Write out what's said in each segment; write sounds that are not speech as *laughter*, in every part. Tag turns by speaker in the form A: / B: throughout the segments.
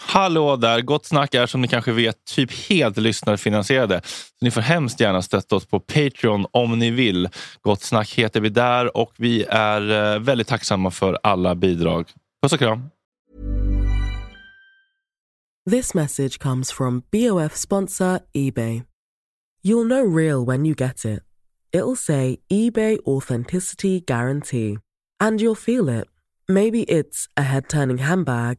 A: Hallå där! Gott Snack är som ni kanske vet typ helt lyssnarfinansierade. Så ni får hemskt gärna stötta oss på Patreon om ni vill. Gott Snack heter vi där och vi är eh, väldigt tacksamma för alla bidrag. Puss och kram!
B: This message comes from BOF sponsor eBay. You'll know real when you get it. It'll say eBay Authenticity Guarantee. And you'll feel it. Maybe it's a head turning handbag,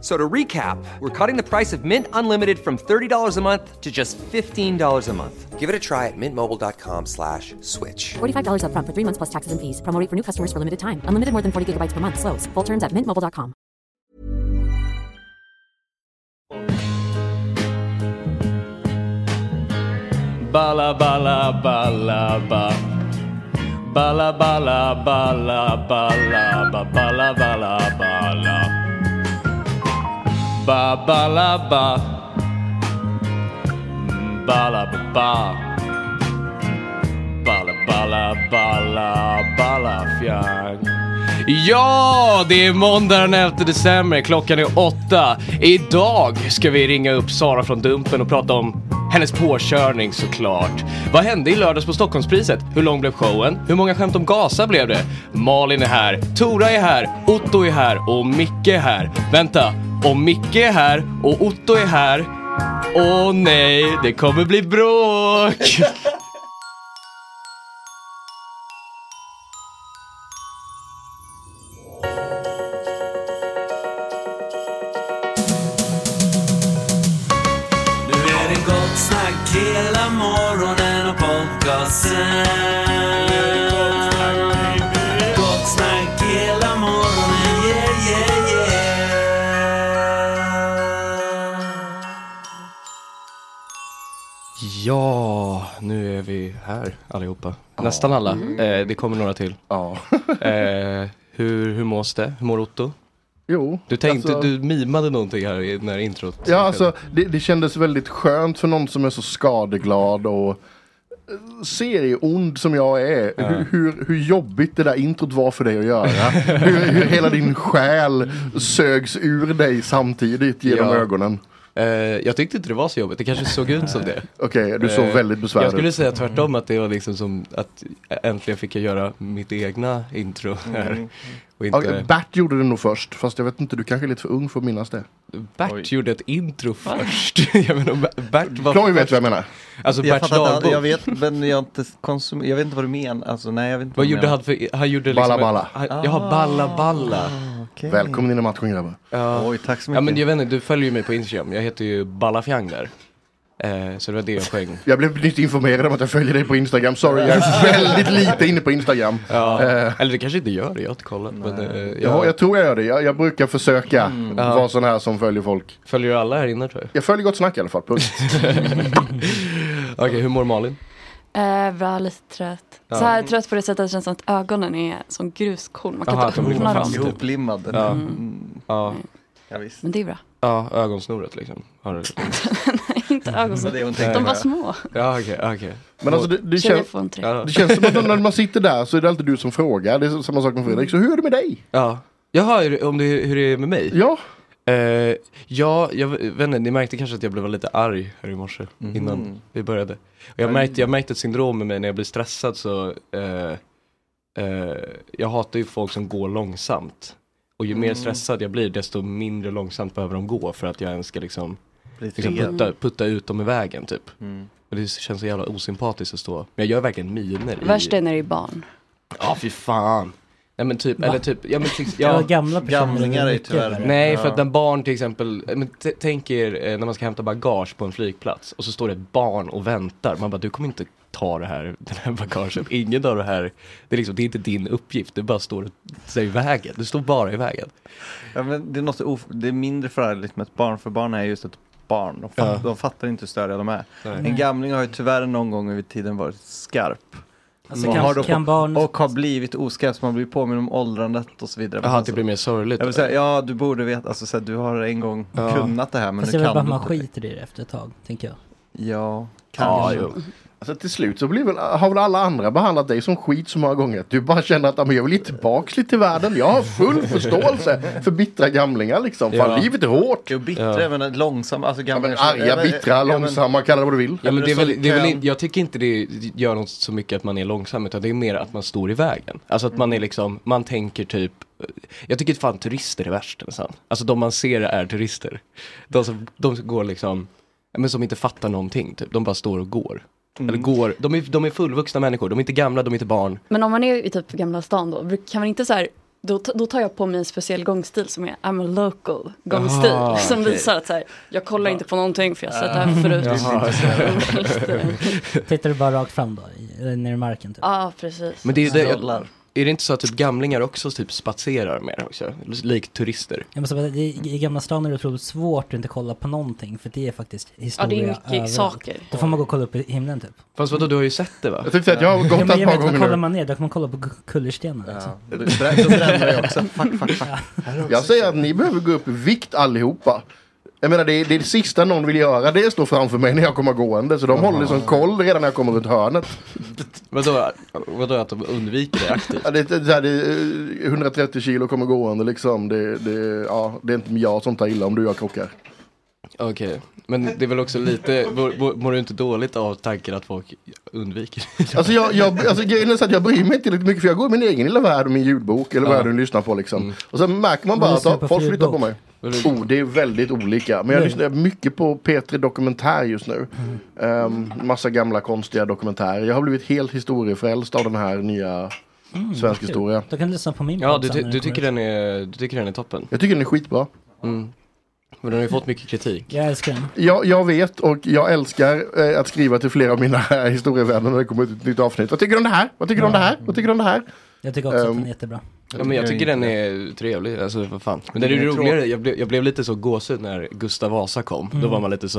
C: So to recap, we're cutting the price of Mint Unlimited from $30 a month to just $15 a month. Give it a try at mintmobile.com slash switch.
D: $45 upfront for three months plus taxes and fees. Promo rate for new customers for limited time. Unlimited more than 40 gigabytes per month. Slows. Full terms at mintmobile.com.
E: Balla balla balla ba. Balla balla balla balla ba balla balla balla. Ba balla ba. Mm, Balla ba ba. Balla balla balla balla fjang. Ja, det är måndag den 11 december. Klockan är åtta. Idag ska vi ringa upp Sara från Dumpen och prata om hennes påkörning såklart. Vad hände i lördags på Stockholmspriset? Hur lång blev showen? Hur många skämt om Gaza blev det? Malin är här, Tora är här, Otto är här och Micke är här. Vänta, om Micke är här och Otto är här, åh nej, det kommer bli bråk!
F: Nu är det gott snack hela morgonen och podcasten. Gott snack hela morgonen, yeah, yeah, yeah.
E: Ja, nu är vi här allihopa. Nästan alla. Eh, det kommer några till.
G: Mm. Ja.
E: *laughs* Eh, hur, hur mås det? Hur mår Otto?
G: Jo.
E: Du tänkte,
G: alltså,
E: du mimade någonting här i när introt.
G: Ja, alltså det, det kändes väldigt skönt för någon som är så skadeglad och eh, serieond som jag är. Hur, hur, hur jobbigt det där introt var för dig att göra. hur, hur hela din själ sögs ur dig samtidigt genom
E: Ja.
G: ögonen.
E: Eh, jag tyckte inte det var så jobbigt, det kanske såg ut som det.
G: Okej, du såg
E: Eh,
G: väldigt
E: Jag
G: besvärad
E: skulle
G: ut. Mm.
E: säga tvärtom, att det var liksom som att äntligen fick jag göra mitt egna intro
G: Mm.
E: här. Och inte,
G: Ja, Bert gjorde det nog först, fast jag vet inte, du kanske är lite för ung för att minnas det.
E: Bert gjorde ett intro först. *laughs* jag menar, Ber- Bert var
G: Ploy vet
E: först.
G: vad jag menar.
E: Alltså
H: Jag,
E: Berts
H: fattar inte,
E: dagbok.
H: jag vet, men jag, har inte konsum- jag vet inte vad du menar. Alltså, nej, jag vet inte
E: Vad
H: du
E: gjorde
H: menar. Ah.
E: han för, han gjorde liksom...
G: Balla, balla.
E: Han, jaha, balla balla.
H: Okej.
G: Välkommen in i matchen grabbar.
H: Oj, tack så mycket.
E: Ja men jag vet inte, du följer ju mig på Instagram. Jag heter ju Ballafjang där. Eh, så det var det jag sjöng.
G: Jag blev nyss informerad om att jag följer dig på Instagram. Sorry, jag är
E: *laughs*
G: väldigt lite inne på Instagram.
E: Ja.
G: Eh,
E: Eller det kanske inte gör det, jag har inte kollat. Men, eh, jag,
G: Ja, jag tror jag gör det. Jag, jag brukar försöka vara sån här som följer folk.
E: Mm. följer ju alla här inne tror jag.
G: Jag följer Gott Snack i alla fall, punkt.
E: *laughs* Okej, hur mår Malin?
I: Eh, bra, lite trött. Så här trött på det sättet att det känns som att ögonen är som gruskorn. Man kan
E: Aha, att
I: inte
E: de ligger
I: öppna
E: fast.
I: dem.
H: Ihoplimmad.
E: Ja.
H: Mm.
E: Ja,
H: Ja, visst.
I: Men det är bra.
E: ja ögonsnoret liksom. Har du...
I: *laughs* Inte ögon
H: Så det är
I: som...
H: hon tänkte
I: De var
H: på.
I: små.
E: Ja, okej, okej.
G: Men alltså det, det,
I: Känner
G: kän,
I: vi får en tryck.
E: Ja.
G: det känns som att när man sitter där så är det alltid du som frågar. Det är samma sak med Fredrik. Så hur är det med dig?
E: Ja. Jaha, är det- om det, hur det är med mig?
G: Ja,
E: Eh, ja, jag vet inte, ni märkte kanske att jag blev lite arg här i morse innan vi började. Och jag, märkte, jag märkte ett syndrom med mig när jag blir stressad så, eh, eh, jag hatar ju folk som går långsamt. Och ju mer stressad jag blir desto mindre långsamt behöver de gå för att jag ens ska liksom,
H: Blir
E: liksom
H: fred.
E: putta, putta ut dem i vägen typ. Och det känns så jävla osympatiskt att stå, men jag gör verkligen miner i...
I: Värst är när det är barn.
E: Ja, fy fan. Nej men typ,
J: Va?
E: eller typ, ja men till,
J: Ja, gamla personer är
H: Gamlingar är
J: mycket
H: tyvärr
J: värre.
E: Nej, för att
H: Ja.
E: när barn till exempel, eh, men t- tänk er eh, när man ska hämta bagage på en flygplats och så står det ett barn och väntar. Man bara, du kommer inte ta det här, *laughs* den här bagaget. Ingen av det här, det är, liksom, det är inte din uppgift. Du bara står sig i vägen. Du står bara i vägen.
H: Ja, men det, är något of- det är mindre förargligt med ett barn, för barn är just ett barn. De, fa-
E: Ja.
H: de fattar inte hur störiga de är.
E: Nej.
H: En gamling har ju tyvärr någon gång över tiden varit skarp.
J: Alltså,
H: Och har
J: kan,
H: då-
J: kan barn...
H: Och har blivit oskarp, så man blir påminn om åldrandet och så vidare. Men
E: Jaha, det
H: alltså,
E: typ blir mer sorgligt.
H: jag vill säga, ja du borde veta, alltså, så här, du har en gång
E: Ja.
H: kunnat det här men
J: Fast
H: nu
J: det är väl
H: kan
J: bara
H: du
J: att man
H: inte.
J: skiter i det efter ett tag, tänker jag. *laughs*
H: Ja,
E: ja,
H: kanske.
E: jo.
G: Alltså till slut så blir väl, har väl alla andra behandlat dig som skit så många gånger att du bara känner att "Ah, men jag vill inte tillbaks lite till världen. Jag
H: *laughs*
G: har full förståelse för bittra gamlingar liksom. Fan,
E: Ja.
G: livet är hårt.
H: Jo, bittra,
E: Ja.
H: men långsamma, alltså
G: Ja,
H: gamla.
G: men arga, bittra, långsamma, kalla det vad du vill.
E: Ja, men det är väl, det är väl,
H: Kön.
E: in- jag tycker inte det gör något så mycket att man är långsam, utan det är mer att man står i vägen. Alltså att man är liksom, man tänker typ, jag tycker fan turister är värst nästan. Alltså de man ser är turister. De som, de som går liksom, ja, men som inte fattar någonting typ, de bara står och går. Eller går, de är, de är fullvuxna människor, de är inte gamla, de är inte barn.
I: Men om man är i typ Gamla stan då, bruk- kan man inte så här, då, t- då tar jag på mig en speciell gångstil som är I'm a local gångstil.
E: Aha,
I: som
E: okej.
I: visar att så här, jag kollar inte på någonting för jag har sett det här förut. *laughs*
J: Tittar du bara rakt fram då, i- eller ner i marken typ?
I: Ja, precis.
E: Men det är, ju det,
H: Dollar.
E: är det inte så att typ gamlingar också typ spatserar mer också, likt turister?
J: Jag måste bara, det, är- I Gamla stan är det otroligt svårt att inte kolla på någonting, för det är faktiskt
I: ja, det
J: historia
I: är mycket
J: överallt.
I: saker.
J: Då får man gå och kolla upp i himlen typ.
E: Fast vadå, du har ju sett det va?
G: Jag tänkte säga att jag har
J: Ja,
G: gått
J: men
G: ett
J: jag
G: par
J: vet, då kollar
G: gånger nu.
J: man ner, då kan man kolla på gu- kullerstenar.
H: Ja.
J: Liksom.
H: Då brän- då bränner jag också. Fuck, fuck, fuck.
G: *laughs* Jag säger att ni behöver gå upp i vikt allihopa. Jag menar det är, det är det sista någon vill göra, det står framför mig när jag kommer gående. Så de håller liksom koll redan när jag kommer runt hörnet.
E: Vadå, vadå att de undviker det aktivt?
G: Ja, det, det, det, här, det, är, eh, 130 kilo kommer gående liksom. Det, det, ja, det är inte jag som tar illa om du och jag krockar.
E: Okej, men det är väl också lite, mår- mår- mår du inte dåligt av tanken att folk undviker?
G: Alltså, jag, jag, alltså grejen är så att jag bryr mig inte lite mycket för jag går i min egen lilla värld och min ljudbok eller vad
E: Ja. Mm.
G: jag nu lyssnar på liksom. Och sen märker man bara att
J: Vad lyssnar du
G: ja,
J: på för
G: folk flyttar på
J: ljudbok?
G: mig. Oh, det är väldigt olika. Men jag
J: Nej.
G: lyssnar mycket på P3 Dokumentär just nu.
J: Mm.
G: Ehm, massa gamla konstiga dokumentärer. Jag har blivit helt historiefrälst av den här nya svensk
J: Mm, kul.
G: historia.
J: Då kan du lyssna på min
E: Ja,
J: podd
E: du,
J: sen
E: ty-
J: när
E: du,
J: den kommer
E: tycker
J: ut.
E: den är, du tycker den är toppen.
G: Jag tycker den är skitbra.
E: Mm. Men den har ju fått mycket kritik.
J: Jag älskar den.
G: Jag, jag vet och jag älskar eh, att skriva till flera av mina *laughs* historievänner när det kommer ut ett nytt avsnitt. Vad tycker du om det här? Vad tycker du om det här? Vad tycker du om det här?
J: Jag tycker också att
G: Ehm,
J: den är jättebra.
E: Ja, men jag tycker den är trevlig, alltså vad fan. Men det är ju
H: Den är
E: roligare, jag blev, jag blev lite så gåshud när Gustav Vasa kom. Då var man lite så,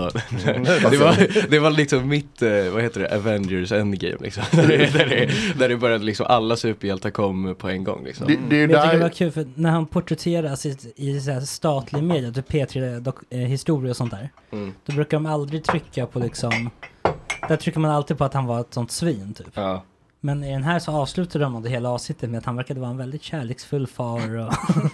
E: *laughs*
G: Mm.
E: det, var, det var liksom mitt, eh, vad heter det, Avengers endgame
G: *laughs*
E: liksom. där, det, där, det, där det började liksom, alla superhjältar kom på en gång liksom.
G: Det, det är ju
J: Men jag tycker det var
G: där...
J: kul för när han porträtteras i, i så här statlig media, typ P3 dok, eh, historia och sånt där.
E: Mm.
J: Då brukar de aldrig trycka på liksom, där trycker man alltid på att han var ett sånt svin typ.
E: Ja.
J: Men i den här så avslutar de det hela avsnittet med att han verkade vara en väldigt kärleksfull far och *laughs*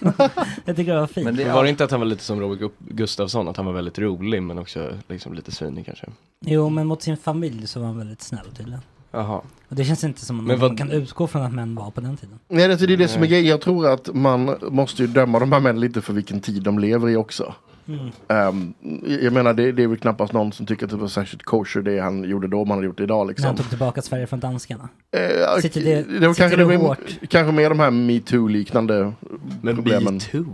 J: jag tycker det var fint.
H: Men det
E: Men var
H: är
E: det inte att han var lite som Robert Gu- Gustafsson, att han var väldigt rolig men också liksom lite svinig kanske?
J: Jo men mot sin familj så var han väldigt snäll tydligen.
E: Jaha.
J: Och det känns inte som
E: Men
J: att
E: vad-
J: man kan utgå från att män var på den tiden.
G: Nej, alltså det det är det som är grejen. Jag tror att man måste ju döma de här männen lite för vilken tid de lever i också.
J: Mm.
G: Ehm, jag menar, det, det är väl knappast någon som tycker att det var särskilt kosher det han gjorde då, man har gjort det idag
J: När
G: liksom.
J: han tog tillbaka Sverige från danskarna.
G: Eh,
J: Sitter det-
G: var
J: sitter
G: kanske,
J: det
G: var-
J: hårt?
G: kanske mer de här metoo-liknande
E: Men
G: problemen. *laughs*
E: metoo?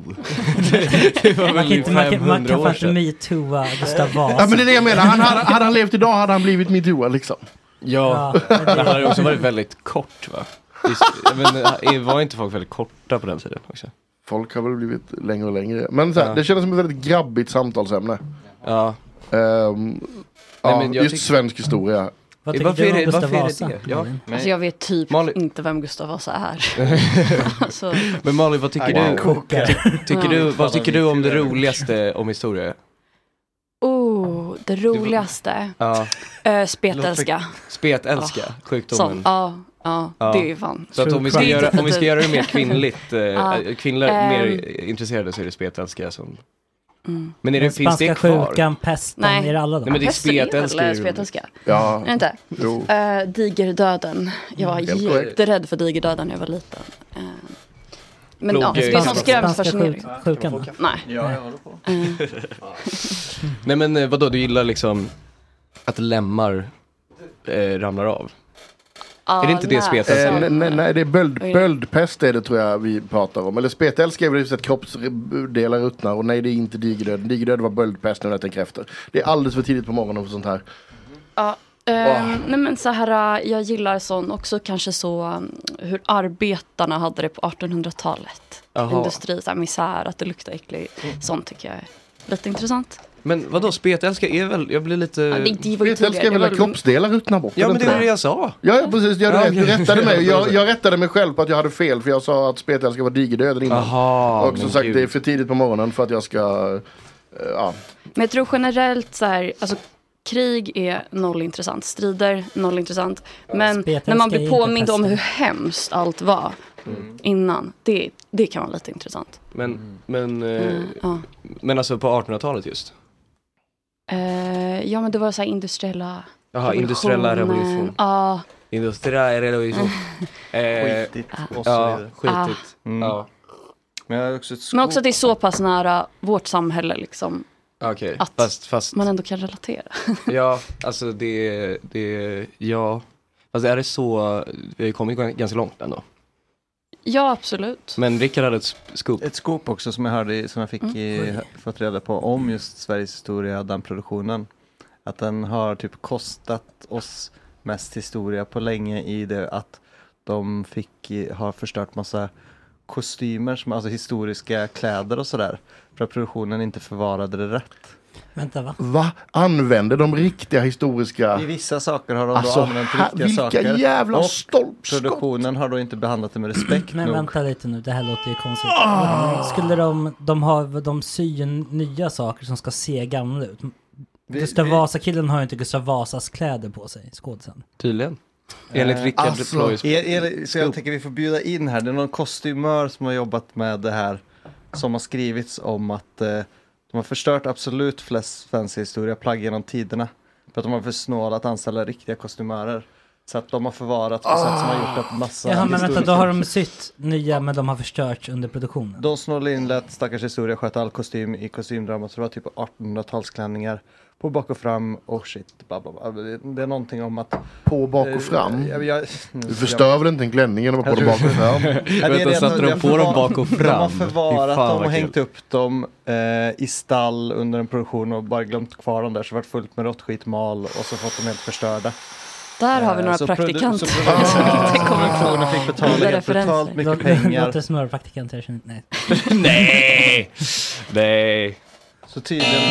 E: det, det var
J: Man
E: väl
J: kan, inte, man kan, man
E: 500
J: kan
E: år
J: fan inte
E: sedan?
J: metooa Gustav Vasa.
G: Ja, men det är det jag menar. Han, hade, hade han levt idag hade han blivit metooad liksom.
E: Ja,
J: Ja, men
E: det
J: det-
E: hade ju också varit väldigt kort va? Visst, Men eh, var inte folk väldigt korta på den tiden också?
G: Folk har väl blivit längre och längre. Men så här,
E: Ja.
G: det kändes som ett väldigt grabbigt samtalsämne.
E: Ja.
G: Ehm, ja,
E: men jag
G: just
E: tyck-
G: svensk historia.
J: Vad tycker
E: Varför
J: du
E: är
J: om
E: det-
J: Gustav
E: varför är det
J: Vasa?
E: det? Ja.
J: Malin?
I: Alltså jag vet typ
E: Malin-
I: inte vem Gustav Vasa
E: *laughs*
I: är. alltså,
E: Men Malin, vad tycker
H: Wow.
E: du? Tycker du, vad
H: Fan,
E: tycker du om det
H: vad vi-
E: roligaste om historia?
I: oh, det roligaste.
E: Ja,
I: Äh, spetälska.
E: spetälska, sjukdomen.
I: Sånt. Ja, ja,
E: Ja.
I: det är fan.
E: Så att om vi ska
J: True crime.
E: göra, om vi ska göra det
I: *laughs*
E: mer kvinnligt,
I: Ja.
E: eh, kvinnor är mer
I: Ehm.
E: intresserade så är det spetälska som...
I: Mm.
E: Men är det, finns det
J: Spanska
E: kvar?
J: sjukan, pesten,
I: Nej.
J: är det alla
E: Nej,
J: dem?
E: men det är
I: Hästen
E: spetälska.
I: väl,
E: ju-
I: eh, spetälska.
G: Ja,
I: Är det inte?
G: jo.
I: Eh, digerdöden. Jag
E: Mm,
I: var
G: Helt korrekt.
I: jätterädd för digerdöden när jag var liten. Eh, men ja,
E: Blodgrej.
I: det är sån
E: Spanska-
I: skrämsfascinering.
J: sjuk- sjukan. va?
I: Nej. Mm.
H: Ja, jag håller på.
F: *laughs*
E: Nej men eh, vadå, du gillar liksom att lemmar eh, ramlar av?
I: Ja,
E: Är det inte det
I: nä-
E: speten
I: så-
E: säger?
G: Eh, nej, nej, det är böld,
I: Oj.
G: böldpest är det tror jag vi pratar om. Eller spetälska är väl just att kroppsdelar ruttnar. Och nej, det är inte digerdöden. Digerdöden var böldpest när jag tänker efter. Det är alldeles för tidigt på morgonen för sånt här.
I: Ja, eh, nej men så här, eh, jag gillar sån också kanske så um, hur arbetarna hade det på 1800-talet.
E: Jaha. Mm.
I: Industri, så här, misär, att det luktar äckligt. Sånt tycker jag är lite intressant.
E: Men vadå, spetälska är väl, jag blir lite...
I: Ja, det- det var ju
G: Spetälska är
I: tidigare,
G: väl
I: det
G: när
I: var-
G: kroppsdelar Mm. ruttnar bort?
E: Ja,
G: eller
E: men det
G: inte
E: var det jag sa.
G: Ja, ja precis. Jag,
E: Ja,
G: rätt, du
E: okej. *laughs*
G: rättade mig. Jag, jag rättade mig själv på att jag hade fel för jag sa att spetälska var digerdöden innan.
E: Aha,
G: och som
E: men
G: sagt,
E: gud.
G: det är för tidigt på morgonen för att jag ska... eh, ja.
I: Men jag tror generellt så här, alltså krig är noll intressant, strider noll intressant. Men
J: Spetälska
I: när man
J: är
I: blir
J: inte
I: påmind om
J: pesten.
I: hur hemskt allt var
E: Mm.
I: innan, det, det kan vara lite intressant.
E: Men, men, eh,
I: Mm, ja.
E: men alltså på 1800-talet just?
I: Eh, ja men det var så här industriella
E: Jaha, industriella revolution.
I: Ja,
E: Industriella revolution.
I: *laughs*
E: Eh,
H: Skitigt och så
E: Ja,
H: vidare. Mm.
E: skitigt. Ja,
H: Men jag har också ett
I: men också
H: skop.
I: att det är så pass nära vårt samhälle liksom.
E: okej.
I: Att
E: Fast, fast,
I: Man ändå kan relatera.
E: *laughs*
I: *laughs*
E: ja, alltså det, det, ja. Fast är det så, vi har ju kommit g- ganska långt ändå.
I: Ja absolut.
E: Men Rickard hade ett sp- scoop.
H: Ett skop också som jag, hörde, i- som jag
J: Mm.
H: fick i, fått reda på om just Sveriges historia, den produktionen. Att den har typ kostat oss mest historia på länge i det att de fick i- ha förstört massa kostymer, som, alltså historiska kläder och sådär. För att produktionen inte förvarade det rätt.
J: Vänta va?
G: Va? Använder de riktiga historiska...
H: I vissa saker har de
G: Alltså,
H: då använt
G: här,
H: riktiga
G: vilka
H: saker.
G: jävla
H: och
G: stolpskott!
H: produktionen har då inte behandlat det med respekt
J: Men
H: nog. Ah!
J: vänta lite nu, det här låter ju konstigt. Skulle de, de, ha, de sy nya saker som ska se gamla ut?
H: Vi-
J: Gustav
H: vi-
J: Vasa-killen har ju inte Gustav Vasas kläder på sig, skådisen.
E: Tydligen. Enligt Rickard
G: alltså,
E: Ploys.
H: Eh, Är, är det, så jag tänker vi får bjuda in här, det är någon kostymör som har jobbat med det här som har skrivits om att eh, de har förstört absolut flest svensk historia, plagg genom tiderna. För att de har för snåla att anställa riktiga kostymörer. Så att de har förvarat på sätt som har gjort att massa
J: Jaha, men vänta,
H: historisk-
J: då har de sytt nya men de har förstörts under produktionen.
H: De snålade in lät stackars historia sköta all kostym i kostymdramat så det var typ 1800-talsklänningar på bak och fram och shit, bla bla bla. Det det är någonting om att... eh,
G: På, bak och fram.
H: Jag, jag,
G: Du förstör väl inte en klänning genom att ha på
H: Jag
G: den bak
H: *laughs*
G: och fram?
H: Ja, det är
E: Vänta,
H: det.
E: satte
H: Jag
E: de på dem
H: förvar-
E: bak och
H: De har
E: fram? Fy
H: förvarat
E: fan,
H: dem
E: vad
H: och
E: kul.
H: hängt upp dem eh, i stall under en produktion och bara glömt kvar dem där så det varit fullt med råttskit, mal och så fått dem helt förstörda.
I: Där har vi
H: Eh,
I: några
H: så produ-
I: praktikanter.
H: så produ-
I: som *laughs* inte kommer från.
H: Produktionen fick betala
I: Goda
H: helt brutalt
I: referenser.
H: mycket
J: Det
H: pengar.
J: låter som några praktikanter, jag känner-
H: *laughs*
J: nej.
A: Nej! Nej!
H: Så tydligen,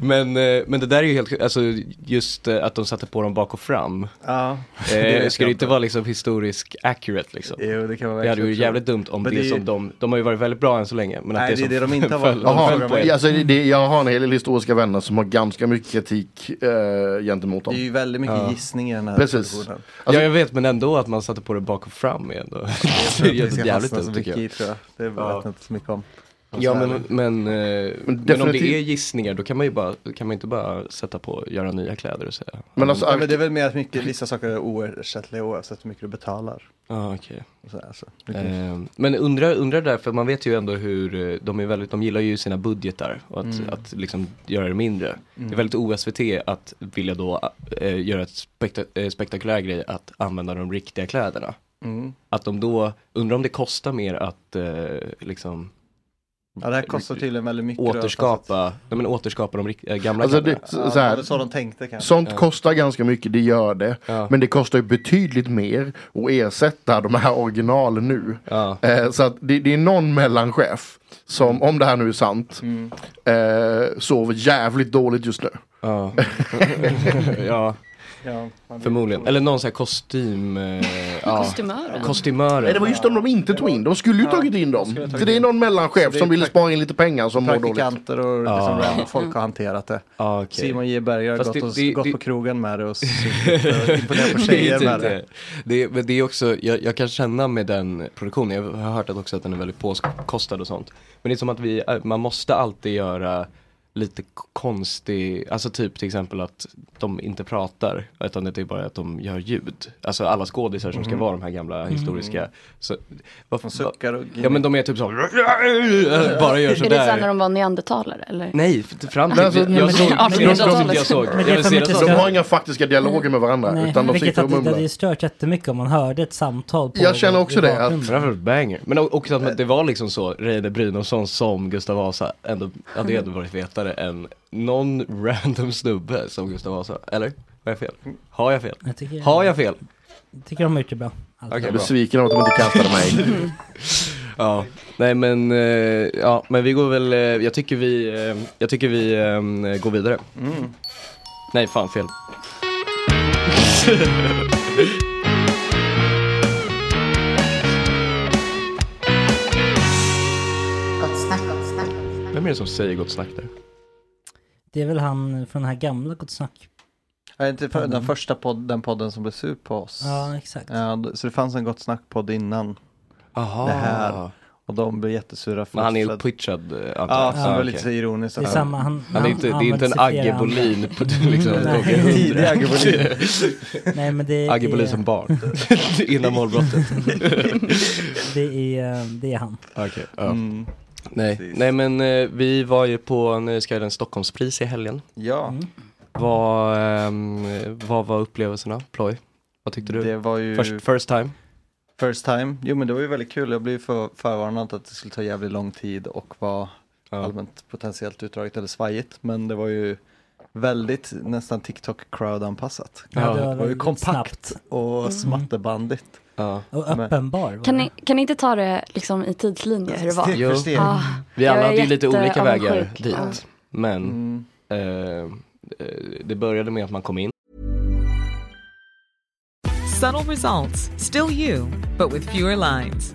E: Men, eh, men det där är ju helt alltså just eh, att de satte på dem bak och fram.
H: ja.
E: Eh,
H: vet
E: skulle
H: jag
E: det inte vara liksom historisk accurate liksom?
H: Jo, det kan man
E: Det hade
H: verkligen
E: varit
H: tro.
E: jävligt dumt om det,
H: Men det är ju-
E: som de, de har ju varit väldigt bra än så länge. Men att
H: Nej,
E: det,
H: det är
E: som
H: det de inte
E: *laughs*
H: har varit.
E: föll- föll på
G: Jaha,
E: er.
G: alltså, det, jag har en hel del historiska vänner som har ganska mycket kritik eh, gentemot
H: Det är
G: dem.
H: ju väldigt mycket
E: Ja.
H: gissning i den här
G: Precis.
H: produktionen.
G: Alltså-
E: ja, jag vet, men ändå att man satte på det bak och fram är *laughs* ändå
H: Jag tror att vi
E: jävligt
H: ska
E: jävligt
H: fastna
E: dumt
H: så
E: tycker
H: mycket i tror
E: jag.
H: jag. Det vet
E: Ja.
H: jag inte så mycket om.
E: Ja, men, men, eh, men om
G: definitivt-
E: det är gissningar då kan man ju bara, kan man inte bara sätta på, göra nya kläder och säga.
G: Men alltså,
H: Ja, men det är väl mer att mycket, vissa saker är oersättliga oavsett hur mycket du betalar.
E: Ah, okay.
H: Och så här, så.
E: Ehm, Men undrar, undrar där, för man vet ju ändå hur, eh, de, är väldigt, de gillar ju sina budgetar och att,
H: Mm.
E: att liksom göra det mindre. Det är väldigt o-SVT att vilja då eh, göra ett spekta, eh, spektakulär grej att använda de riktiga kläderna.
H: Mm.
E: Att de då, undrar om det kostar mer att eh, liksom
H: Ja, det här kostar tydligen väldigt mycket.
E: återskapa, nej, men återskapa de rikt- eh, gamla
G: Alltså, det,
E: kläderna.
H: Så,
G: så så
H: ja,
G: här,
H: det så de tänkte kanske.
G: Sånt kostar ganska mycket, det gör det.
E: Ja.
G: Men det kostar ju betydligt mer att ersätta de här originalen nu.
E: Ja.
G: Eh, så att det, det är någon mellanchef som, om det här nu är sant,
H: Mm.
G: eh, sover jävligt dåligt just nu.
E: Ja. *laughs* ja,
H: *laughs* Ja, man vet.
E: förmodligen. Eller någon sån här kostym, eh, ja.
I: Kostymören.
E: kostymörer.
G: Nej, det var just om de inte tog in, de skulle ju tagit in dem.
H: skulle ha tagit
G: För det är
H: in.
G: någon mellanchef
H: det är
G: som ville
H: prakt-
G: spara in lite pengar som mår dåligt.
H: Praktikanter och liksom
E: Ja.
H: random folk har hanterat
E: *laughs*
H: det.
E: Ah, okej.
H: Simon J Berger har
E: Fast
H: gått,
E: det-
H: och,
E: det-
H: gått
E: det-
H: på krogen med det och
E: *laughs*
H: suttit och imponerat på tjejer
E: Det är
H: med
E: inte
H: det.
E: det. Det, är- men det är också, jag, jag kan känna med den produktionen, jag har hört att också att den är väldigt påkostad och sånt. Men det är som att vi, man måste äh, alltid göra lite k- konstig, alltså typ till exempel att de inte pratar utan det är bara att de gör ljud. Alltså alla skådisar som ska
H: Mhm.
E: vara de här gamla historiska.
H: Mm.
E: Så, varför
H: suckar och
E: Ja men de är typ så *laughs* bara gör
I: Är det sen när
E: sådär.
I: de var neandertalare eller?
E: Nej, f- fram till
G: Men alltså, nej, men
E: jag såg,
I: det-
E: jag såg, jag såg, jag såg.
J: Men det är för mycket
G: De har inga faktiska dialoger med varandra.
J: Nej,
G: utan de
J: vilket
G: sitter
J: att
G: och
J: det det
G: mumlar.
J: hade ju stört jättemycket om man hörde ett samtal på
G: Jag känner också
J: i
G: det, att- Eh.
J: bakgrunden.
E: Forever banger. Men o- också att det var liksom så, Reine Brynolfsson som Gustav Vasa ändå hade ju ändå varit vetare än någon random snubbe som Gustav Vasa. Eller? Har jag fel? Har jag fel?
J: Jag tycker-
E: Har jag fel?
J: Jag tycker de har gjort det bra. Alltså. Allt
E: Okej,
J: bra.
G: Jag är besviken av att de inte kastade mig.
E: *laughs* Ja, nej men, eh, ja, men vi går väl, eh, jag tycker vi, eh, jag tycker vi eh, går vidare. Nej, fan fel.
K: Gott snack, gott snack.
E: Vem är det som säger gott snack där?
J: *laughs* Det är väl han från den här gamla
A: *laughs*
J: Gott snack.
H: Ja, inte för, den
J: Podden.
H: första podd, den podden som blev sur på oss.
J: Mm. Ja, exakt.
H: Ja, d- så det fanns en Gott Snack-podd innan.
E: Aha.
H: Det här. Och de blev jättesura för
E: Men han är
H: oss för att-
E: uppitchad eh, antar
H: Ja,
E: jag.
H: så det var
E: okej.
H: lite så ironiskt.
J: Det är samma, han-
E: han är
J: han
E: inte, det är inte en
J: använder sig
E: Agge
J: flera
E: Bolin.
J: andra.
E: på- *laughs* Liksom,
J: Mm, nej.
E: gånger hundra.
J: Tidig
E: *laughs*
J: Agge Bolin. *laughs* Nej, men det-
E: Agge
J: det-
E: Bolin som
J: *laughs*
E: barn.
A: *laughs*
E: Innan målbrottet.
H: *laughs*
J: det, är, eh, det är han.
E: Okej, ja.
A: Mm.
H: Mm.
E: Nej. Nej men eh, vi var ju på en eh, Skyden Stockholmspris i helgen.
H: Ja.
J: Mm.
E: Vad, ehm, vad var upplevelserna? Ploy? Vad tyckte du?
H: Det var ju...
E: First, first time?
H: First time. Jo men det var ju väldigt kul. Jag blev för, förvarnad att det skulle ta jävligt lång tid och var allmänt potentiellt utdraget eller svajigt. Men det var ju väldigt nästan TikTok-crowd-anpassat.
J: Ja, det var
H: det var ju
J: väldigt
H: kompakt
J: Mm.
H: och smattebandigt.
J: Och
H: Men-
J: öppenbar.
I: Kan ni, kan ni inte ta det liksom i tidslinje hur det var?
E: Jo.
I: Ah,
E: Mm. Vi
I: jag
E: alla
I: är
E: hade ju lite olika vägar
I: jätteavundsjuk.
E: dit.
I: Ja.
E: Men eh, eh, det började med att man kom in.
L: Subtle results, still you, but with fewer lines.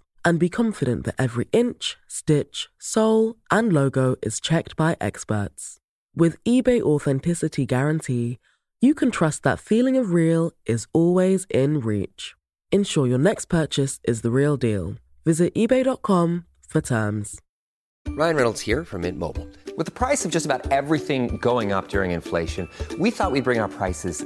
B: and be confident that every inch, stitch, sole, and logo is checked by experts. With eBay Authenticity Guarantee, you can trust that feeling of real is always in reach. Ensure your next purchase is the real deal. Visit eBay.com for terms.
C: Ryan Reynolds here from Mint Mobile. With the price of just about everything going up during inflation, we thought we'd bring our prices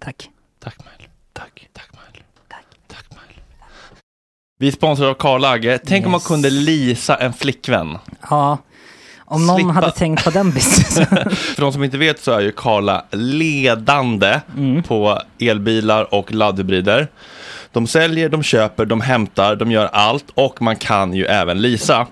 J: Tack.
A: Tack Mindler. Tack. Tack Mindler. Tack. Tack Mindler. Vi sponsrar av Karl Agge. Tänk om man
J: Yes.
A: kunde lisa en flickvän.
J: Ja, om någon
A: Slippa.
J: hade tänkt på den
A: *laughs*
J: businessen.
A: För de som inte vet så är ju Karla ledande på elbilar och laddhybrider. De säljer, de köper, de hämtar, de gör allt och man kan ju även leasa.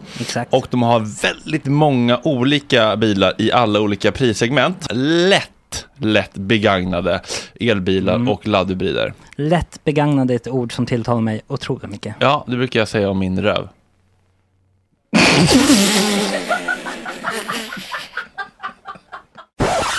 A: Och de har väldigt många olika bilar i alla olika prissegment. Lätt, lätt begagnade elbilar och laddhybrider.
J: Lätt begagnade är ett ord som tilltalar mig otroligt mycket.
A: Ja, det brukar jag säga om min röv.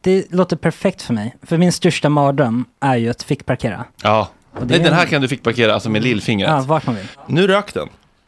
J: det låter perfekt för mig. För min största mardröm är ju att fick parkera.
A: Ja.
J: det
A: Nej,
J: är
A: den här
J: en-
A: kan du fick parkera alltså med lillfingret.
J: Ja, vart man vill.
A: Nu rök den.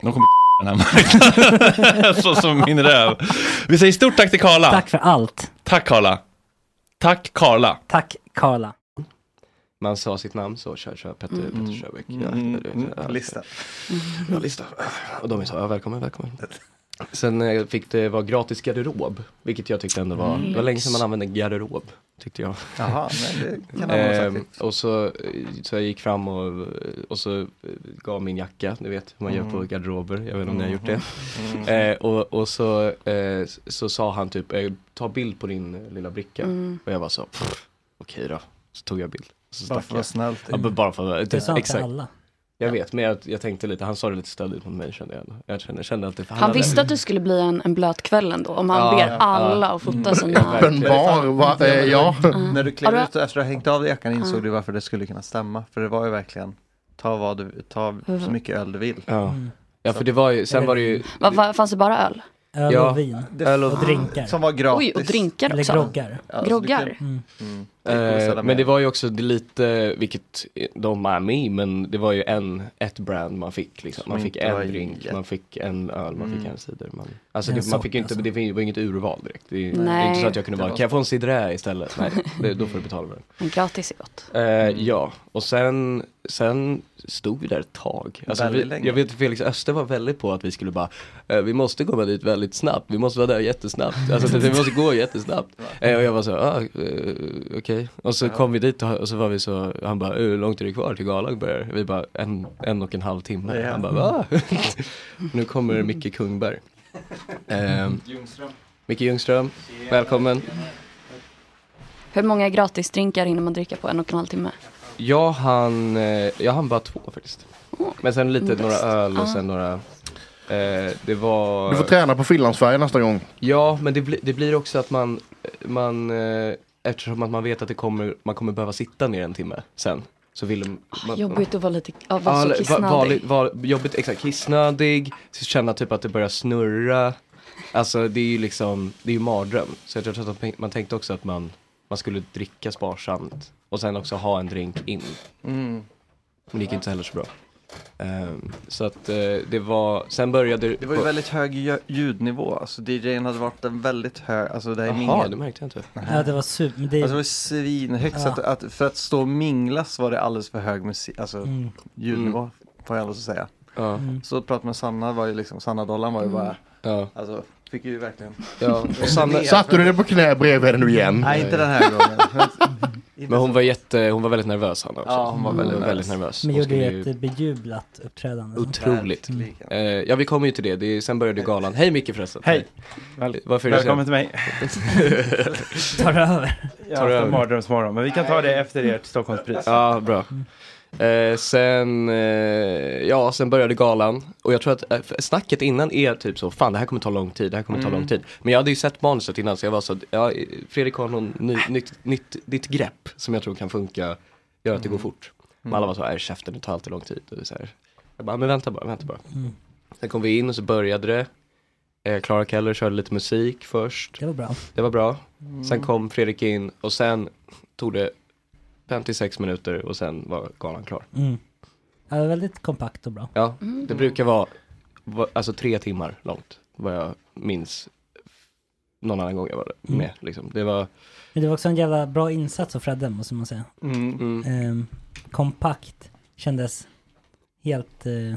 A: De kommer *laughs* den här marknaden. *laughs* Så som min röv. Vi säger stort tack till Karla.
J: Tack för allt.
A: Tack Karla. Tack Karla.
J: Tack Karla.
E: Man sa sitt namn så, kör, kör, Petter,
J: Mm.
E: Petter Sjöbeck.
H: Mm. Mm. Lista.
E: Ja, lista. Och de sa, ja,
H: *laughs*
E: välkommen, välkommen. Sen eh, fick det vara gratis garderob, vilket jag tyckte ändå var,
H: Mm.
E: det var länge sedan man använde garderob, tyckte jag.
H: Jaha, men det kan man ha
E: Ehm,
H: sagt.
E: Och så, eh, så jag gick fram och, och så eh, gav min jacka, du vet hur man gör
H: Mm.
E: på garderober, jag vet inte om ni har gjort det.
H: Mm.
E: Eh, och och så, eh, så sa han typ, eh, ta bild på din eh, lilla bricka.
H: Mm.
E: Och jag bara så, "Pff, okej då. Så tog jag bild. Så
H: Bara
E: stack
H: för att vara
E: jag.
H: snäll.
E: Ja, men bara för att
J: Du sa inte alla.
E: Jag vet, men jag, jag tänkte lite, han sa det lite stödigt mot mig kände jag. Jag kände, kände att det
I: Han visste att det skulle bli en, en blöt kväll ändå. Om han ber alla att fota sina...
G: va? Eh, ja. Mm.
H: När du
I: Mm. Ja,
H: klev
I: det-
H: ut och efter att ha hängt av dig jackan insåg
I: Ja.
H: du varför det skulle kunna stämma. För det var ju verkligen, ta, vad du, ta så
I: Mm.
H: mycket öl du vill.
E: Ja. Ja, för det var ju, sen var det ju,
I: Va, va, fanns det bara öl?
J: Öl
E: Ja.
J: och vin.
H: Det-
E: Öl och-
J: och drinkar.
H: Som var gratis.
I: Oj, och drinkar
J: Eller
I: också.
J: groggar.
H: Ja, så
I: Groggar?
H: du kan- Mm. Det kommer
E: eh,
H: sällan
E: men det
H: med.
E: var ju också det lite, vilket de är med i, men det var ju en, ett brand man fick liksom.
H: Som
E: Man fick
H: inte Mm. var
E: en drink, man fick en öl, man fick
H: Mm.
E: en cider. Man, alltså
H: En
E: det, man
H: sort,
E: fick ju inte,
H: alltså.
E: det var ju inget urval direkt. Det, är- det är
I: Nej.
E: inte så att jag kunde
I: Det
E: bara,
I: var-
E: kan jag få en cidre istället? Nej, det, då får du betala för den.
I: Men gratis är gott.
H: Mm.
E: Eh, ja, och sen, sen stod vi där ett tag. Alltså,
H: Väldigt
E: vi,
H: länge.
E: jag vet att Felix Öster var väldigt på att vi skulle bara, eh, vi måste komma dit väldigt snabbt, vi måste vara där jättesnabbt, alltså det, vi måste
H: *laughs*
E: gå jättesnabbt. Eh, och jag var så, ah, eh, okej. Och så kom vi dit och, och så var vi så, han bara, "Eh, hur långt är det kvar till galan börjar? Vi bara, en, en och en halv timme.
H: Ja.
E: Han bara, va? *laughs* nu kommer Micke
H: *laughs*
E: Kungberg. Ehm,
H: Ljungström.
E: Micke Ljungström, välkommen.
I: Hur många gratisdrinkar hinner man dricka på en och en halv timme?
E: Jag hann, eh, jag hann bara två faktiskt. Men sen lite
I: Mm,
E: några
I: bäst.
E: öl och
I: Ah.
E: sen några Eh, det var...
G: Du får träna på Finlandsfärjan nästa gång.
E: Ja, men det, bli, det blir också att man, man eh, eftersom att man vet att det kommer, man kommer behöva sitta ner en timme sen. Så vill de- man,
I: Ah, Jobbigt att vara lite, ja,
E: Ja,
I: vara så
E: eller va-
I: kissnödig.
E: vanligt- va- jobbigt, exakt, kissnödig, så känna typ att det börjar snurra. Alltså det är ju liksom, det är ju mardröm. Så jag tror att man- man tänkte också att man, man skulle dricka sparsamt och sen också ha en drink in.
H: Mm.
E: Men det gick inte heller så bra. Ehm, så att eh, det var, sen började
H: Det var ju väldigt hög ljö- ljudnivå, alltså DJn hade varit en väldigt hög, alltså det här är
E: Jaha,
H: mingel.
E: det märkte jag inte.
J: Ja, det var super... men Det...
H: Alltså det var svinhögt, så
J: Ja.
H: att, att för att stå och minglas var det alldeles för hög musik, alltså
J: Mm.
H: ljudnivå får jag ändå säga.
J: Mm.
H: Så att prata med Sanna var ju liksom, Sanna Dollan var ju
J: Mm.
H: bara,
E: ja.
H: alltså fick ju verkligen. *laughs*
E: Ja, och Sanna-
G: Satte du dig på knä bredvid henne nu igen?
H: Nej inte den här gången.
J: *laughs*
E: Men hon var jätte, hon var väldigt nervös Hanna också. Mm.
H: Ja, hon var väldigt nervös.
E: väldigt nervös.
J: Men
E: Hon
J: gjorde
E: skulle
J: ju ett bejublat uppträdande.
E: Otroligt. Eh, ja, vi kommer ju till det. det är, sen började galan. Hej Micke förresten.
M: Hej.
E: Väl- Varför är du
M: Välkommen
E: sen?
M: till mig.
J: *laughs* Tar över.
M: Jag
E: Tar
M: har
E: över.
M: haft en mardrömsmorgon, men vi kan ta det efter ert Stockholmspris.
E: Ja, bra. Eh, sen, eh, ja, sen började galan och jag tror att eh, snacket innan är typ så, fan det här kommer ta lång tid, det här kommer ta
M: Mm.
E: lång tid. Men jag hade ju sett manuset innan så jag var så, ja, eh, Fredrik har någon ny, nytt, nytt, nytt grepp som jag tror kan funka, göra att det går fort. Men alla var så, är käften det tar alltid lång tid. Och så här. Jag bara, men vänta bara, vänta bara.
J: Mm.
E: Sen kom vi in och så började det. Eh, Clara Keller körde lite musik först.
J: Det var bra.
E: Det var bra.
J: Mm.
E: Sen kom Fredrik in och sen tog det 56 minuter och sen var galan klar.
J: Mm. Ja, det var väldigt kompakt och bra.
E: Ja,
J: Mm.
E: det brukar vara va- alltså tre timmar långt vad jag minns. Någon annan gång jag var med
J: Mm.
E: liksom. Det var,
J: Men det var också en jävla bra insats av Fredde, måste man säga.
E: Mm. Mm.
J: Ehm, kompakt. Kändes helt eh,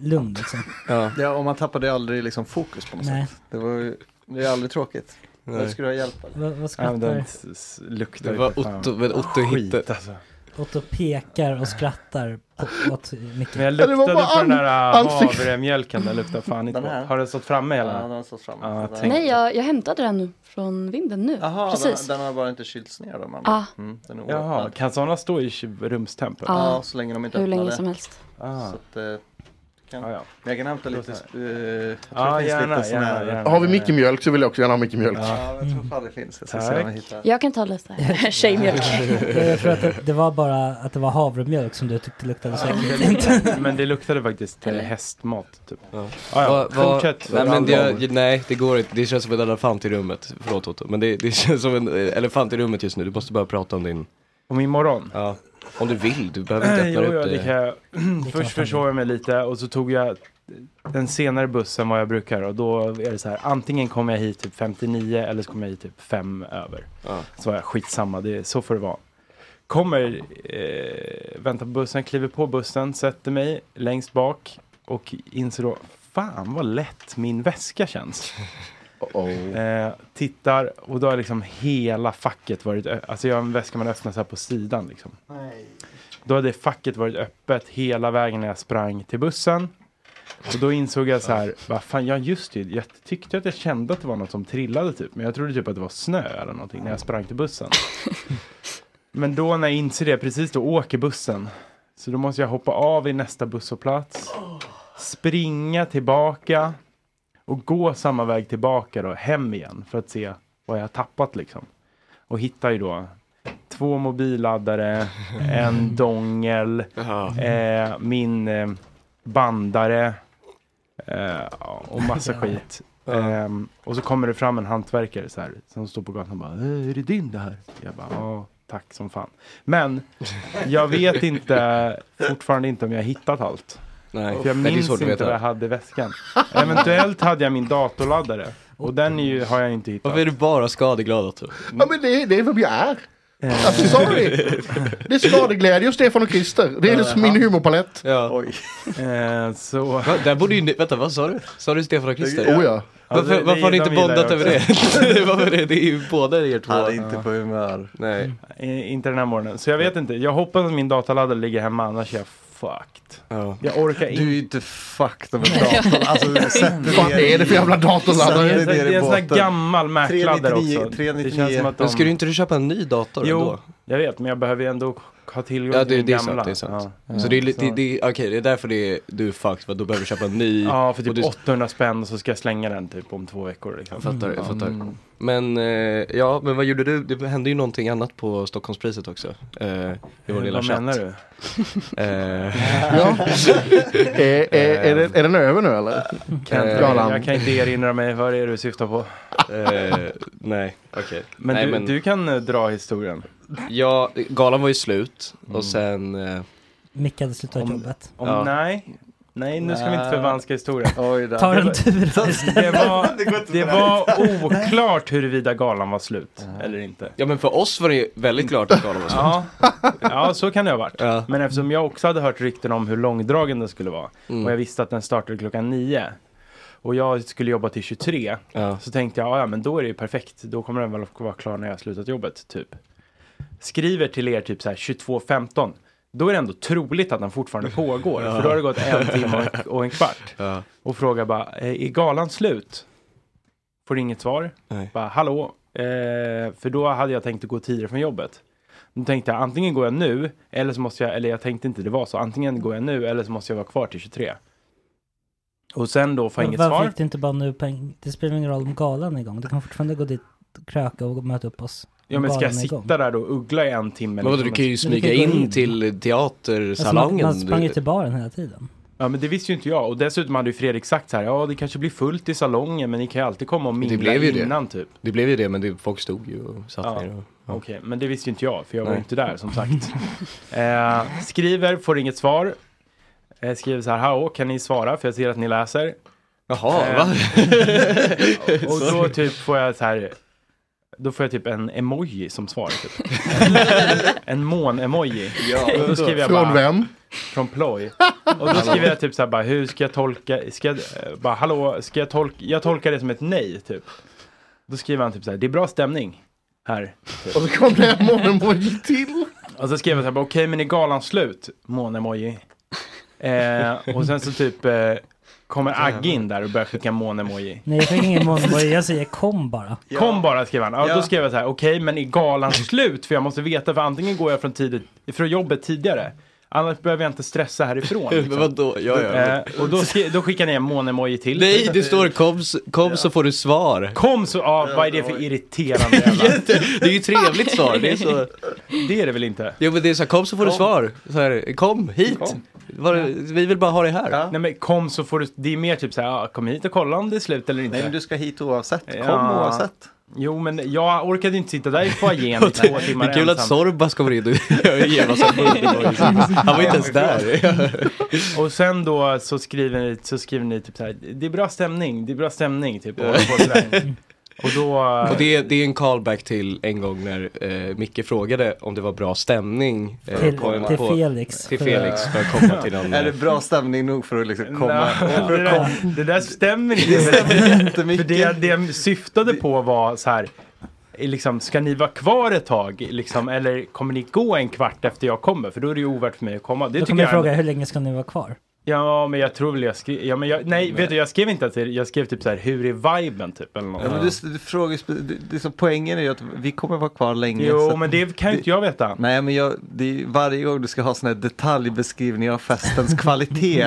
J: lugn liksom.
E: Ja.
H: ja och man tappade aldrig liksom fokus på något
J: Nej.
H: sätt. Det var ju, det är aldrig tråkigt.
M: Nej.
H: Det skulle ha hjälpt.
J: Vad- vad skrattar
M: Ja, men
J: du?
M: den s- s- luktar
E: Det
M: ju
E: var
M: för fan.
E: Otto- men Otto
M: Skit,
E: hittade-
M: alltså.
J: Otto pekar och skrattar på, åt Micke.
M: Men jag luktade på den där äh,
J: ansikt-
M: havremjölken, den luktar fan inte
J: Den här?
M: gott. Har den stått framme hela?
H: Ja, den har stått framme.
M: Ja, jag tänkte-
I: Nej, jag, jag hämtade den nu från vinden nu.
H: Jaha,
I: Precis.
H: Den, den har bara inte kylts ner då man.
I: Ah.
H: Mm, den är
M: Jaha,
H: oöppnad.
M: kan sådana stå i kyl- rumstemper?
H: Ja, så länge de inte
I: Hur
H: öppnar
I: länge
H: det.
I: som helst.
M: Ah,
H: Så att, eh, kan,
M: ja.
H: Men jag kan hämta lite. eh, jag tror
M: Ja,
H: det finns
M: gärna,
H: lite sån här-
M: gärna, gärna.
G: Har vi mycket mjölk så vill jag också gärna ha mycket mjölk.
H: Ja, jag tror fan det finns. Jag ska se
G: Tack.
H: om jag hittar.
I: Jag kan
E: *laughs*
I: ta lite tjejmjölk.
J: jag tror att det, det var bara att det var havremjölk som du tyckte luktade så
I: *laughs*
M: Det- Men det luktade faktiskt eh, hästmat. Typ. Ja. Ja,
E: Vad- vad-
M: fortsätt.
E: nej, men det, nej, det går inte. Det känns som en elefant i rummet. Förlåt Otto, men det, *laughs* det känns som en eh, elefant i rummet just nu. Du måste bara prata om din...
M: Om imorgon?
E: Ja, om du vill. Du behöver inte
M: Eh,
E: öppna
M: Jo, jo,
E: upp
M: det kan jag. *clears throat* Först försov jag mig lite och så tog jag den senare bussen än vad jag brukar och då är det så här antingen kommer jag hit typ 59 eller så kommer jag hit typ 5 över. Så var jag skitsamma, det, är- så får det vara. Kommer, eh, väntar på bussen, kliver på bussen, sätter mig längst bak och inser då fan vad lätt min väska känns. Eh, tittar och då har liksom hela facket varit, ö- alltså jag har en väska man öppnar så här på sidan liksom. Då hade facket varit öppet hela vägen när jag sprang till bussen. Och då insåg jag så här, vad fan, ja just det, jag tyckte att jag kände att det var något som trillade typ. Men jag trodde typ att det var snö eller någonting när jag sprang till bussen. Men då när jag inser det, precis då åker bussen. Så då måste jag hoppa av i nästa busshållplats. Springa tillbaka. Och gå samma väg tillbaka då, hem igen. För att se vad jag har tappat liksom. Och hittar ju då två mobilladdare, en dongel, eh, min eh, bandare eh, och
G: *laughs*
M: massa skit. Ehm, och så kommer det fram en hantverkare så här, som står på gatan och bara "Eh, Är det din det här? Jag bara ja, tack som fan. Men jag vet
E: *laughs*
M: inte, fortfarande inte om jag har hittat allt.
E: Nej,
M: För jag
E: nej, det är
M: minns
E: svårt att
M: inte
E: veta.
M: vad jag hade i väskan. Eventuellt hade jag min datorladdare. Och den är ju, har jag inte hittat. Varför
E: är du bara skadeglad Otto?
G: Ja men det, det är vem jag är. Alltså
E: *laughs*
G: sorry. Det är skadeglädje och Stefan och Christer. Det är liksom min humorpalett. *laughs*
E: Ja.
H: Oj.
M: Eh, så.
E: där borde ju ni, vänta vad sa du? Sa du Stefan och Christer?
G: Oh, ja.
E: Varför,
G: Ja, det- det-
E: varför har ni
G: de
E: inte
G: gillar
E: bondat
G: jag
E: över
G: också.
E: det? *laughs* varför är det? är ju båda er två.
M: Han är inte
E: på humör. Nej.
M: Eh, Inte den här morgonen. Så jag vet inte. Jag hoppas att min dataladdare ligger hemma, annars är jag fucked. Jag orkar inte.
H: Du är ju inte fucked av en dator. Alltså, sätt dig
M: Fan,
H: ner
M: det är
H: i-
M: det för jävla datorladdare?
H: Sätt dig
M: Mm. Det är-
H: ner i
M: det är en sån här
H: båten.
M: gammal Mac-laddare
H: 399,
M: också. Det känns
H: 399.
M: som att de- Men ska du inte
E: du köpa en ny dator
M: jo,
E: ändå?
M: jag vet, men jag behöver ju ändå ha tillgång
E: Ja det,
M: till
E: det
M: den
E: är
M: gamla.
E: sant, det är sant.
M: Ja.
E: Så det är, li- det, det, okej, det är därför det är, du är fucked, för att du behöver köpa en ny.
M: Ja, för
E: och
M: typ
E: du,
M: 800 spänn och så ska jag slänga den typ om två veckor. Liksom.
E: Jag fattar, jag
M: Ja.
E: fattar.
M: Mm.
E: Men, eh, ja, men vad gjorde du? Det hände ju någonting annat på Stockholmspriset också. Eh, I vår
M: Eh,
E: lilla
M: vad
E: chatt.
M: menar du?
E: *laughs* Eh, *laughs*
G: Ja. Eh,
M: Eh,
G: är, är, är, den, är den över nu eller? Eh,
M: Kan inte,
G: Galan.
M: jag kan inte erinra mig, vad är det du syftar på?
E: Eh, nej, okej.
M: Men,
E: Nej,
M: du,
E: men-
M: du kan eh, dra historien. Mm.
E: ja, galan var ju slut och sen eh,
J: Micke hade slutat jobbet.
M: Om,
E: Ja.
M: Nej, nej nu ska vi inte
J: Nej.
M: förvanska historien.
J: Ta en tur
M: Det
E: *laughs*
M: var,
J: Det går inte att
M: det var oklart huruvida galan var slut eller inte.
E: Ja men för oss var det ju väldigt klart att galan var slut.
M: Ja, *laughs* ja så kan det ha varit. Men eftersom jag också hade hört rykten om hur långdragen den skulle vara och jag visste att den startade klockan nio och jag skulle jobba till 23 så tänkte jag, "Ah, ja men då är det ju perfekt, då kommer den väl att vara klar när jag har slutat jobbet, typ. Skriver till er typ så här 22.15, då är det ändå troligt att den fortfarande pågår,
E: Ja.
M: för då har det gått *laughs* en timme och en, och en kvart. Och frågar bara, "Eh, är galan slut? Får inget svar.
E: Nej.
M: Bara, hallå? Eh, för då hade jag tänkt att gå tidigare från jobbet. Då tänkte jag, antingen går jag nu, eller så måste jag, eller jag tänkte inte det var så, antingen går jag nu eller så måste jag vara kvar till 23. Och sen då får jag inget
J: Varför
M: svar.
J: gick du inte bara nu på en... Det spelar ingen roll om galan är igång. Du kan fortfarande gå dit, kröka och möta upp oss.
M: Ja
J: Om
M: men ska jag
J: galan är igång.
M: sitta där då och uggla i en timme?
E: Men vadå,
M: liksom?
E: du kan ju
J: Men du kan
E: smyga
J: ju gå
E: in
J: in.
E: till
J: Alltså, man,
E: teatersalongen.
J: man sprang ju
E: Du-
J: till baren hela tiden.
M: Ja men det visste ju inte jag. Och dessutom hade ju Fredrik sagt så här, ja det kanske blir fullt i salongen men ni kan ju alltid komma och
E: Det
M: mingla
E: blev ju det.
M: innan typ.
E: Det blev ju det, men det, folk stod ju och satt
M: Ja.
E: ner. Och, ja.
M: Okej, men det visste ju inte jag för jag var
E: Nej.
M: ju inte där som
E: *laughs*
M: sagt. eh, skriver, får inget svar. Eh, skriver så här, hallå kan ni svara för jag ser att ni läser. Eh,
E: Jaha, va?
M: *laughs* och, och då typ får jag så här, då får jag typ en emoji som svar.
E: *laughs*
M: Typ. en mån-emoji.
G: Ja.
M: Och då skriver jag
G: Från
M: bara,
G: vem?
M: Från ploj. Och då skriver jag typ så här bara, hur ska jag tolka, ska jag, eh, bara hallå, ska jag tolka, jag tolkar det som ett nej typ. Då skriver han typ så här, det är bra stämning här. Typ.
G: Och så kom det en mormoji till.
M: Och så skrev jag så här, bara, okej men är galan slut? Månemoji. Eh, och sen så typ eh, kommer Agge in där och börjar skicka månemoji.
J: Nej, jag fick ingen måndag. Jag säger kom bara.
M: Kom bara skrev han. Ja,
J: Ja.
M: Då skrev jag så här, okej men är
E: *laughs*
M: galan slut? För jag måste veta, för antingen går jag från, tidigt, från jobbet tidigare. Annars behöver jag inte stressa härifrån.
E: *laughs*
M: liksom."
E: Men vadå? Ja, ja.
M: Eh, och då, skri- då skickar ni en månemoji till. Eh,
E: Nej, det står kom, s- kom så får du svar.
M: Kom så, ja, vad är det för irriterande jävla...
E: Det är ju ett trevligt svar. Det är, så...
M: det är det väl inte?
E: ja, men det är så här, kom så får du
M: Kom.
E: svar. Så här, *laughs* kom hit. Var, vi vill bara ha dig här.
M: Nej men kom så får du, det är mer typ så här, ja, kom hit och kolla om det är slut eller inte.
E: Nej, men du
M: ska hit oavsett,
E: Kom oavsett.
M: Jo men jag orkade inte sitta
E: *laughs*
M: där i foajén i två
E: Det
M: timmar
E: är kul att
M: ensam.
E: Sorbas kommer in och ger oss en *laughs* bulldog. Han var ju inte ens där.
M: *laughs* Och sen då så skriver ni, så skriver ni typ så här, det är bra stämning, det är bra stämning typ. Och, och, sådär. och då...
E: Och det är, det är en callback till en gång när eh, Micke frågade om det var bra stämning. eh,
J: Till- till Felix.
E: Till Felix för att komma till någon.
H: Är det bra stämning nog för att liksom komma?
M: Nej, det, där, det där stämmer inte. Det För det, det jag syftade på var så här, liksom, ska ni vara kvar ett tag? Liksom, eller kommer ni gå en kvart efter jag kommer? För då är det ju ovärt för mig att komma. Det tycker
J: Då kommer jag
M: jag
J: fråga hur länge ska ni vara kvar?
M: Ja, men jag tror väl jag skrev... Ja, men jag, nej, vet du, jag skrev inte att det- jag skrev typ så här, hur är viben typ? Eller något.
H: Ja, men du, du frågar, ju spe- det, det, är så poängen är ju att vi kommer vara kvar länge.
M: Jo,
H: så att
M: men det kan ju inte jag veta.
H: Nej, men jag, det är, ju- varje gång du ska ha sådana här detaljbeskrivningar av festens
M: *laughs*
H: kvalitet,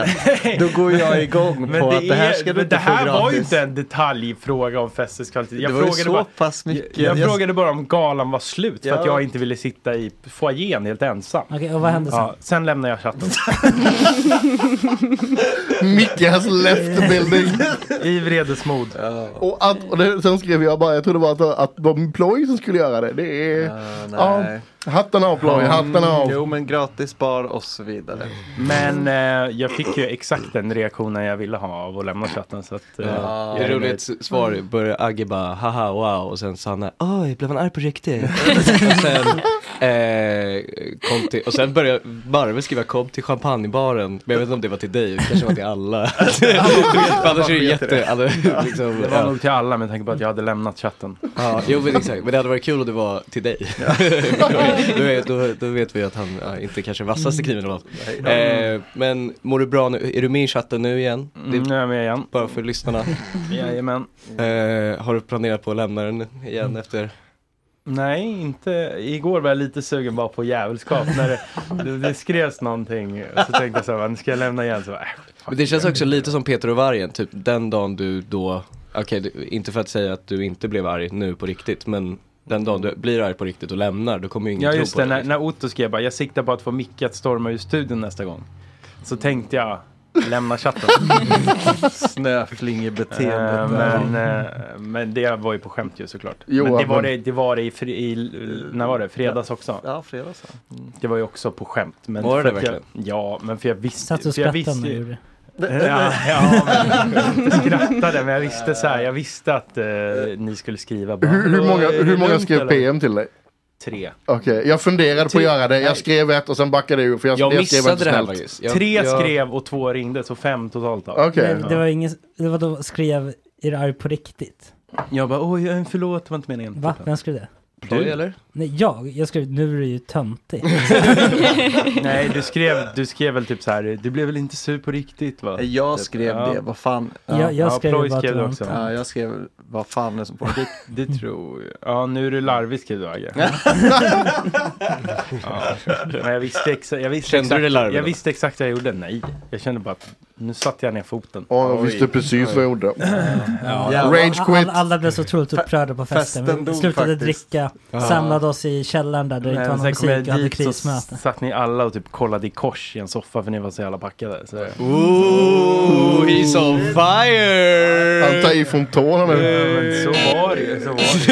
H: då går jag igång
M: Men
H: på att det här
M: är-
H: ska du
M: men
H: inte
M: det här
H: få
M: var ju
H: gratis.
M: inte en detaljfråga om festens kvalitet. Jag
H: Det var ju
M: frågade
H: så
M: bara,
H: pass mycket.
M: Jag,
H: Jag-
M: jag frågade bara om galan var slut för
H: Ja.
M: att jag inte ville sitta i foajén helt ensam.
J: Okej, och vad hände sen?
M: sen lämnar jag
H: *laughs*
M: chatten.
G: Micke has left the building.
M: I vredesmod.
G: Och, att, och det, sen skrev jag bara, jag trodde bara att, att det var Ploy som skulle göra det. Det är... ja,
H: nej.
G: hatten av Ploy, hatten av.
H: mm, Jo, men gratis bar och så vidare.
M: *laughs* Men eh, jag fick ju exakt den reaktionen jag ville ha av att lämna chatten. Så att, eh,
E: Ja,
M: jag
E: det är
M: är
E: roligt
M: nöjd.
E: s- svar, börjar Agge bara haha wow och sen Sanna oj blev han arg
M: *laughs*
E: på riktigt? och sen eh, kom till, och sen började Marve skriva kom till champagnebaren, men jag vet inte om det var till dig, det kanske var
M: *laughs*
E: till alla. För annars Alltså, är det jätte, alla, liksom,
M: Det var
E: *laughs* ja.
M: nog till alla med tanke på att jag hade lämnat chatten.
E: Ja, jo men exakt, men det hade varit kul om det var till dig. då, är- då, då vet vi att han ja, inte kanske är
M: Mm.
E: vassaste kniven av oss. Eh, men mår du bra nu? Är du med i chatten nu igen?
M: Mm, nu är jag med igen.
E: Bara för lyssnarna.
M: *laughs* Jajamän. Mm.
E: Eh, har du planerat på att lämna den igen efter?
M: *laughs* Nej, inte. Igår var jag lite sugen bara på jävelskap. När det, det, det skrevs någonting så tänkte jag så här, "Nu ska jag lämna igen? Så, bara, "Äh,
E: Men det känns också lite som Peter och vargen, typ den dagen du då, okej du- inte för att säga att du inte blev arg nu på riktigt, men den dagen du blir arg på riktigt och lämnar, då kommer ju ingen
M: Ja
E: tro
M: just
E: på
M: det,
E: det.
M: när, när Otto skrev bara jag siktar på att få Micke att storma ur studion nästa gång. Så tänkte jag lämna
E: *laughs*
M: chatten.
H: Snöflingebeteendet.
M: Eh, men, eh, men det var ju på skämt ju såklart.
H: Jo,
M: men det var
H: men-
M: det, det var det i, fri, i när var det? fredags också.
H: Ja, fredags. ja.
M: Mm. Det var ju också på skämt. Men
E: Var det
M: för
E: det
M: att Jag, ja, men för jag visste.
J: Satt och
M: för jag
J: skrattade om det, gjorde du?
M: Ja, ja men, jag skrattade men jag visste så här, jag visste att eh, ni skulle skriva bara.
G: Hur, hur
M: "Hallå,
G: många,
M: är det
G: hur många
M: lugnt,
G: skrev
M: eller?"
G: PM till dig?
M: Tre.
G: Okej, jag funderade på att göra det. Jag skrev ett och sen backade jag ur för jag, jag, skrev inte snällt.
M: Tre skrev och två ringde, så fem totalt. då.
J: Men det var ingen, det var då skrev, är du arg på riktigt?
M: Jag bara, oj, förlåt, det var inte meningen.
J: Va? Vem skrev det?
M: Du, eller?
J: Nej, jag? Jag skrev, nu är du
E: *laughs*
J: ju töntig.
H: *laughs*
M: Nej, du skrev, du skrev väl typ så här, du blev väl inte sur på riktigt va?
H: Eh, Jag
M: Typ,
H: skrev
M: ja.
H: det, vad fan.
M: Jag- jag Ja, skrev Ploy bara att skrev det det var också. en
H: Ja,
M: tant.
H: jag skrev, vad fan är det som pågår?
M: Det tror jag. Ja, nu är du larvig skrev du
H: *laughs*
M: Agge. ja. Men jag visste, exa- jag visste
E: Kände
M: exakt,
E: du dig larvig
M: Jag
E: då?
M: visste exakt vad jag gjorde. Nej, jag kände bara att nu satte jag ner foten.
G: Ja, jag visste precis vad jag gjorde.
M: Jävlar.
G: Rage
J: All,
G: quit.
J: alla blev så otroligt upprörda på festen.
M: festen
J: Vi
M: dog
J: slutade
M: faktiskt.
J: dricka,
M: Ja.
J: samlade oss i källaren där, där det
M: Nej,
J: inte var
M: men
J: någon
M: sen kom jag
J: musik och hade
M: dit så
J: krismöte.
M: s- satt ni alla och typ kollade i kors i en soffa för ni var så jävla packade. Så.
E: Ooh, he's on fire!
G: Han tar ifrån tårna nu.
M: Ja, men så var det ju, så var det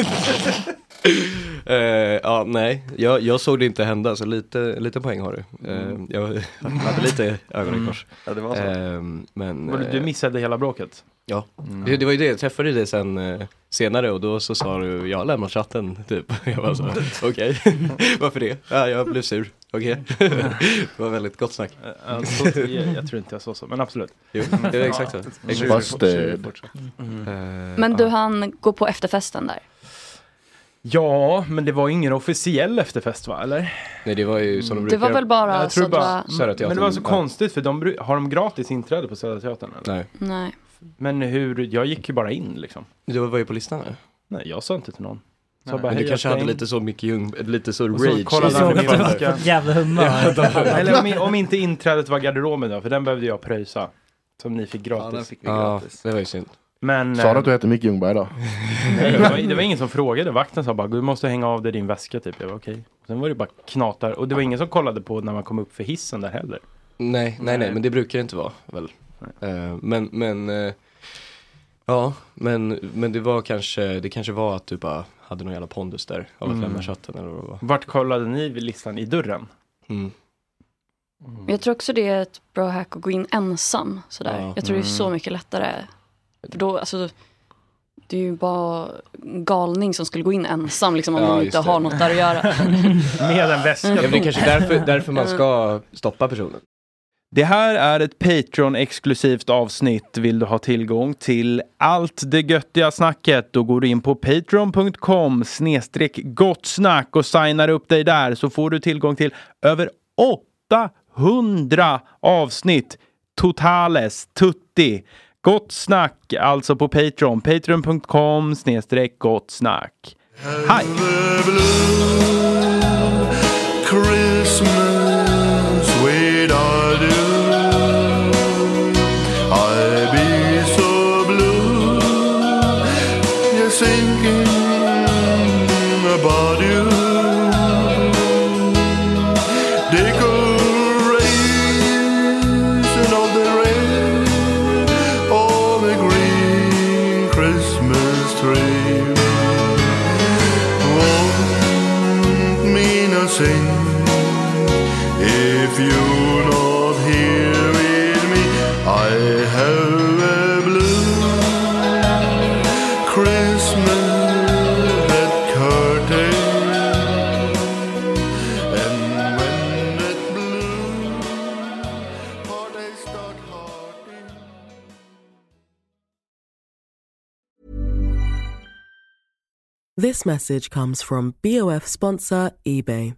M: ju.
E: *laughs* Eh, ja, nej. Jag, jag såg det inte hända, så lite, lite poäng har du. Eh, jag hade lite ögonen i kors.
M: Mm. Ja, det var så.
E: Eh, men,
M: Var det- Du
E: eh,
M: missade hela bråket? Mm.
E: Ja, det, det var ju det. Jag träffade dig sen eh, senare och då så sa du, jag lämnar chatten, typ. *laughs* Jag
M: *laughs*
E: bara så, okej, *laughs* varför det? Ja, jag blev sur, okej. *laughs* det var väldigt gott snack.
M: Mm. Ja, så, jag,
E: *laughs*
M: jag tror inte jag sa så, men absolut.
E: Jo, det är exakt så. Exakt. Mm.
G: Busted.
I: Men du han gå på efterfesten där?
M: Ja, men det var ju ingen officiell efterfest va, eller?
E: Nej, det var ju som de
I: Mm. Det var väl bara
M: jag tror
I: Södra-
M: bara,
E: Södra Teatern.
M: Men det var så
E: Ja.
M: konstigt för de, bru- har de gratis inträde på Södra Teatern? Eller?
E: Nej.
I: Nej.
M: Men hur, jag gick ju bara in liksom.
E: Du var ju på listan eller?
M: Nej, jag sa inte till någon. Så
E: Men du
M: "Hej, jag
E: kanske
M: ska
E: hade
M: in."
E: lite så Micke Ljung, lite så
M: Och så
E: rage.
M: kollade han om det var-
J: jävla humör.
M: Ja,
E: *laughs*
M: de-
J: Alla-
M: Eller om, i- om inte inträdet var garderoben då, för den behövde jag pröjsa. Som ni fick gratis.
E: Ja, det var ju synd.
M: Men,
G: Sa du
M: eh,
G: att du hette Micke Ljungberg då?
M: Nej, det, var, det var ingen som frågade. Vakten sa bara, du måste hänga av dig din väska typ. Jag var okej. Sen var det bara knatar. Och det var ingen som kollade på när man kom upp för hissen där heller.
E: Nej, nej, nej, men det brukar det inte vara väl. Eh, men, men, eh, ja, men, men det var kanske, det kanske var att du bara hade någon jävla pondus där av att
M: Mm.
E: lämna chatten eller vad det var.
M: Vart kollade ni vid listan? I dörren?
E: Mm.
I: Jag tror också det är ett bra hack att gå in ensam sådär.
E: Ja.
I: Jag tror det är så
E: Mm.
I: mycket lättare. För då, alltså, det är ju bara en galning som skulle gå in ensam liksom, om
E: Ja,
I: man
E: just
I: inte
E: det.
I: har något där att göra.
M: *laughs* Med en
E: Ja, men det är kanske därför, därför man ska stoppa personen.
M: Det här är ett Patreon-exklusivt avsnitt. Vill du ha tillgång till allt det göttiga snacket då går du in på patreon.com snedstreck gott snack och signar upp dig där så får du tillgång till över 800 avsnitt totales tutti. Gott snack alltså på Patreon. Patreon.com snedstreck gott snack. Hi!
N: Christmas when I do I be so blue You're thinking about you Decoration of the rain On the green Christmas tree Won't mean a thing if you're not here with me, I have a blue Christmas red curtain. And when that blue heart is dark hearted.
B: This message comes from BOF sponsor eBay.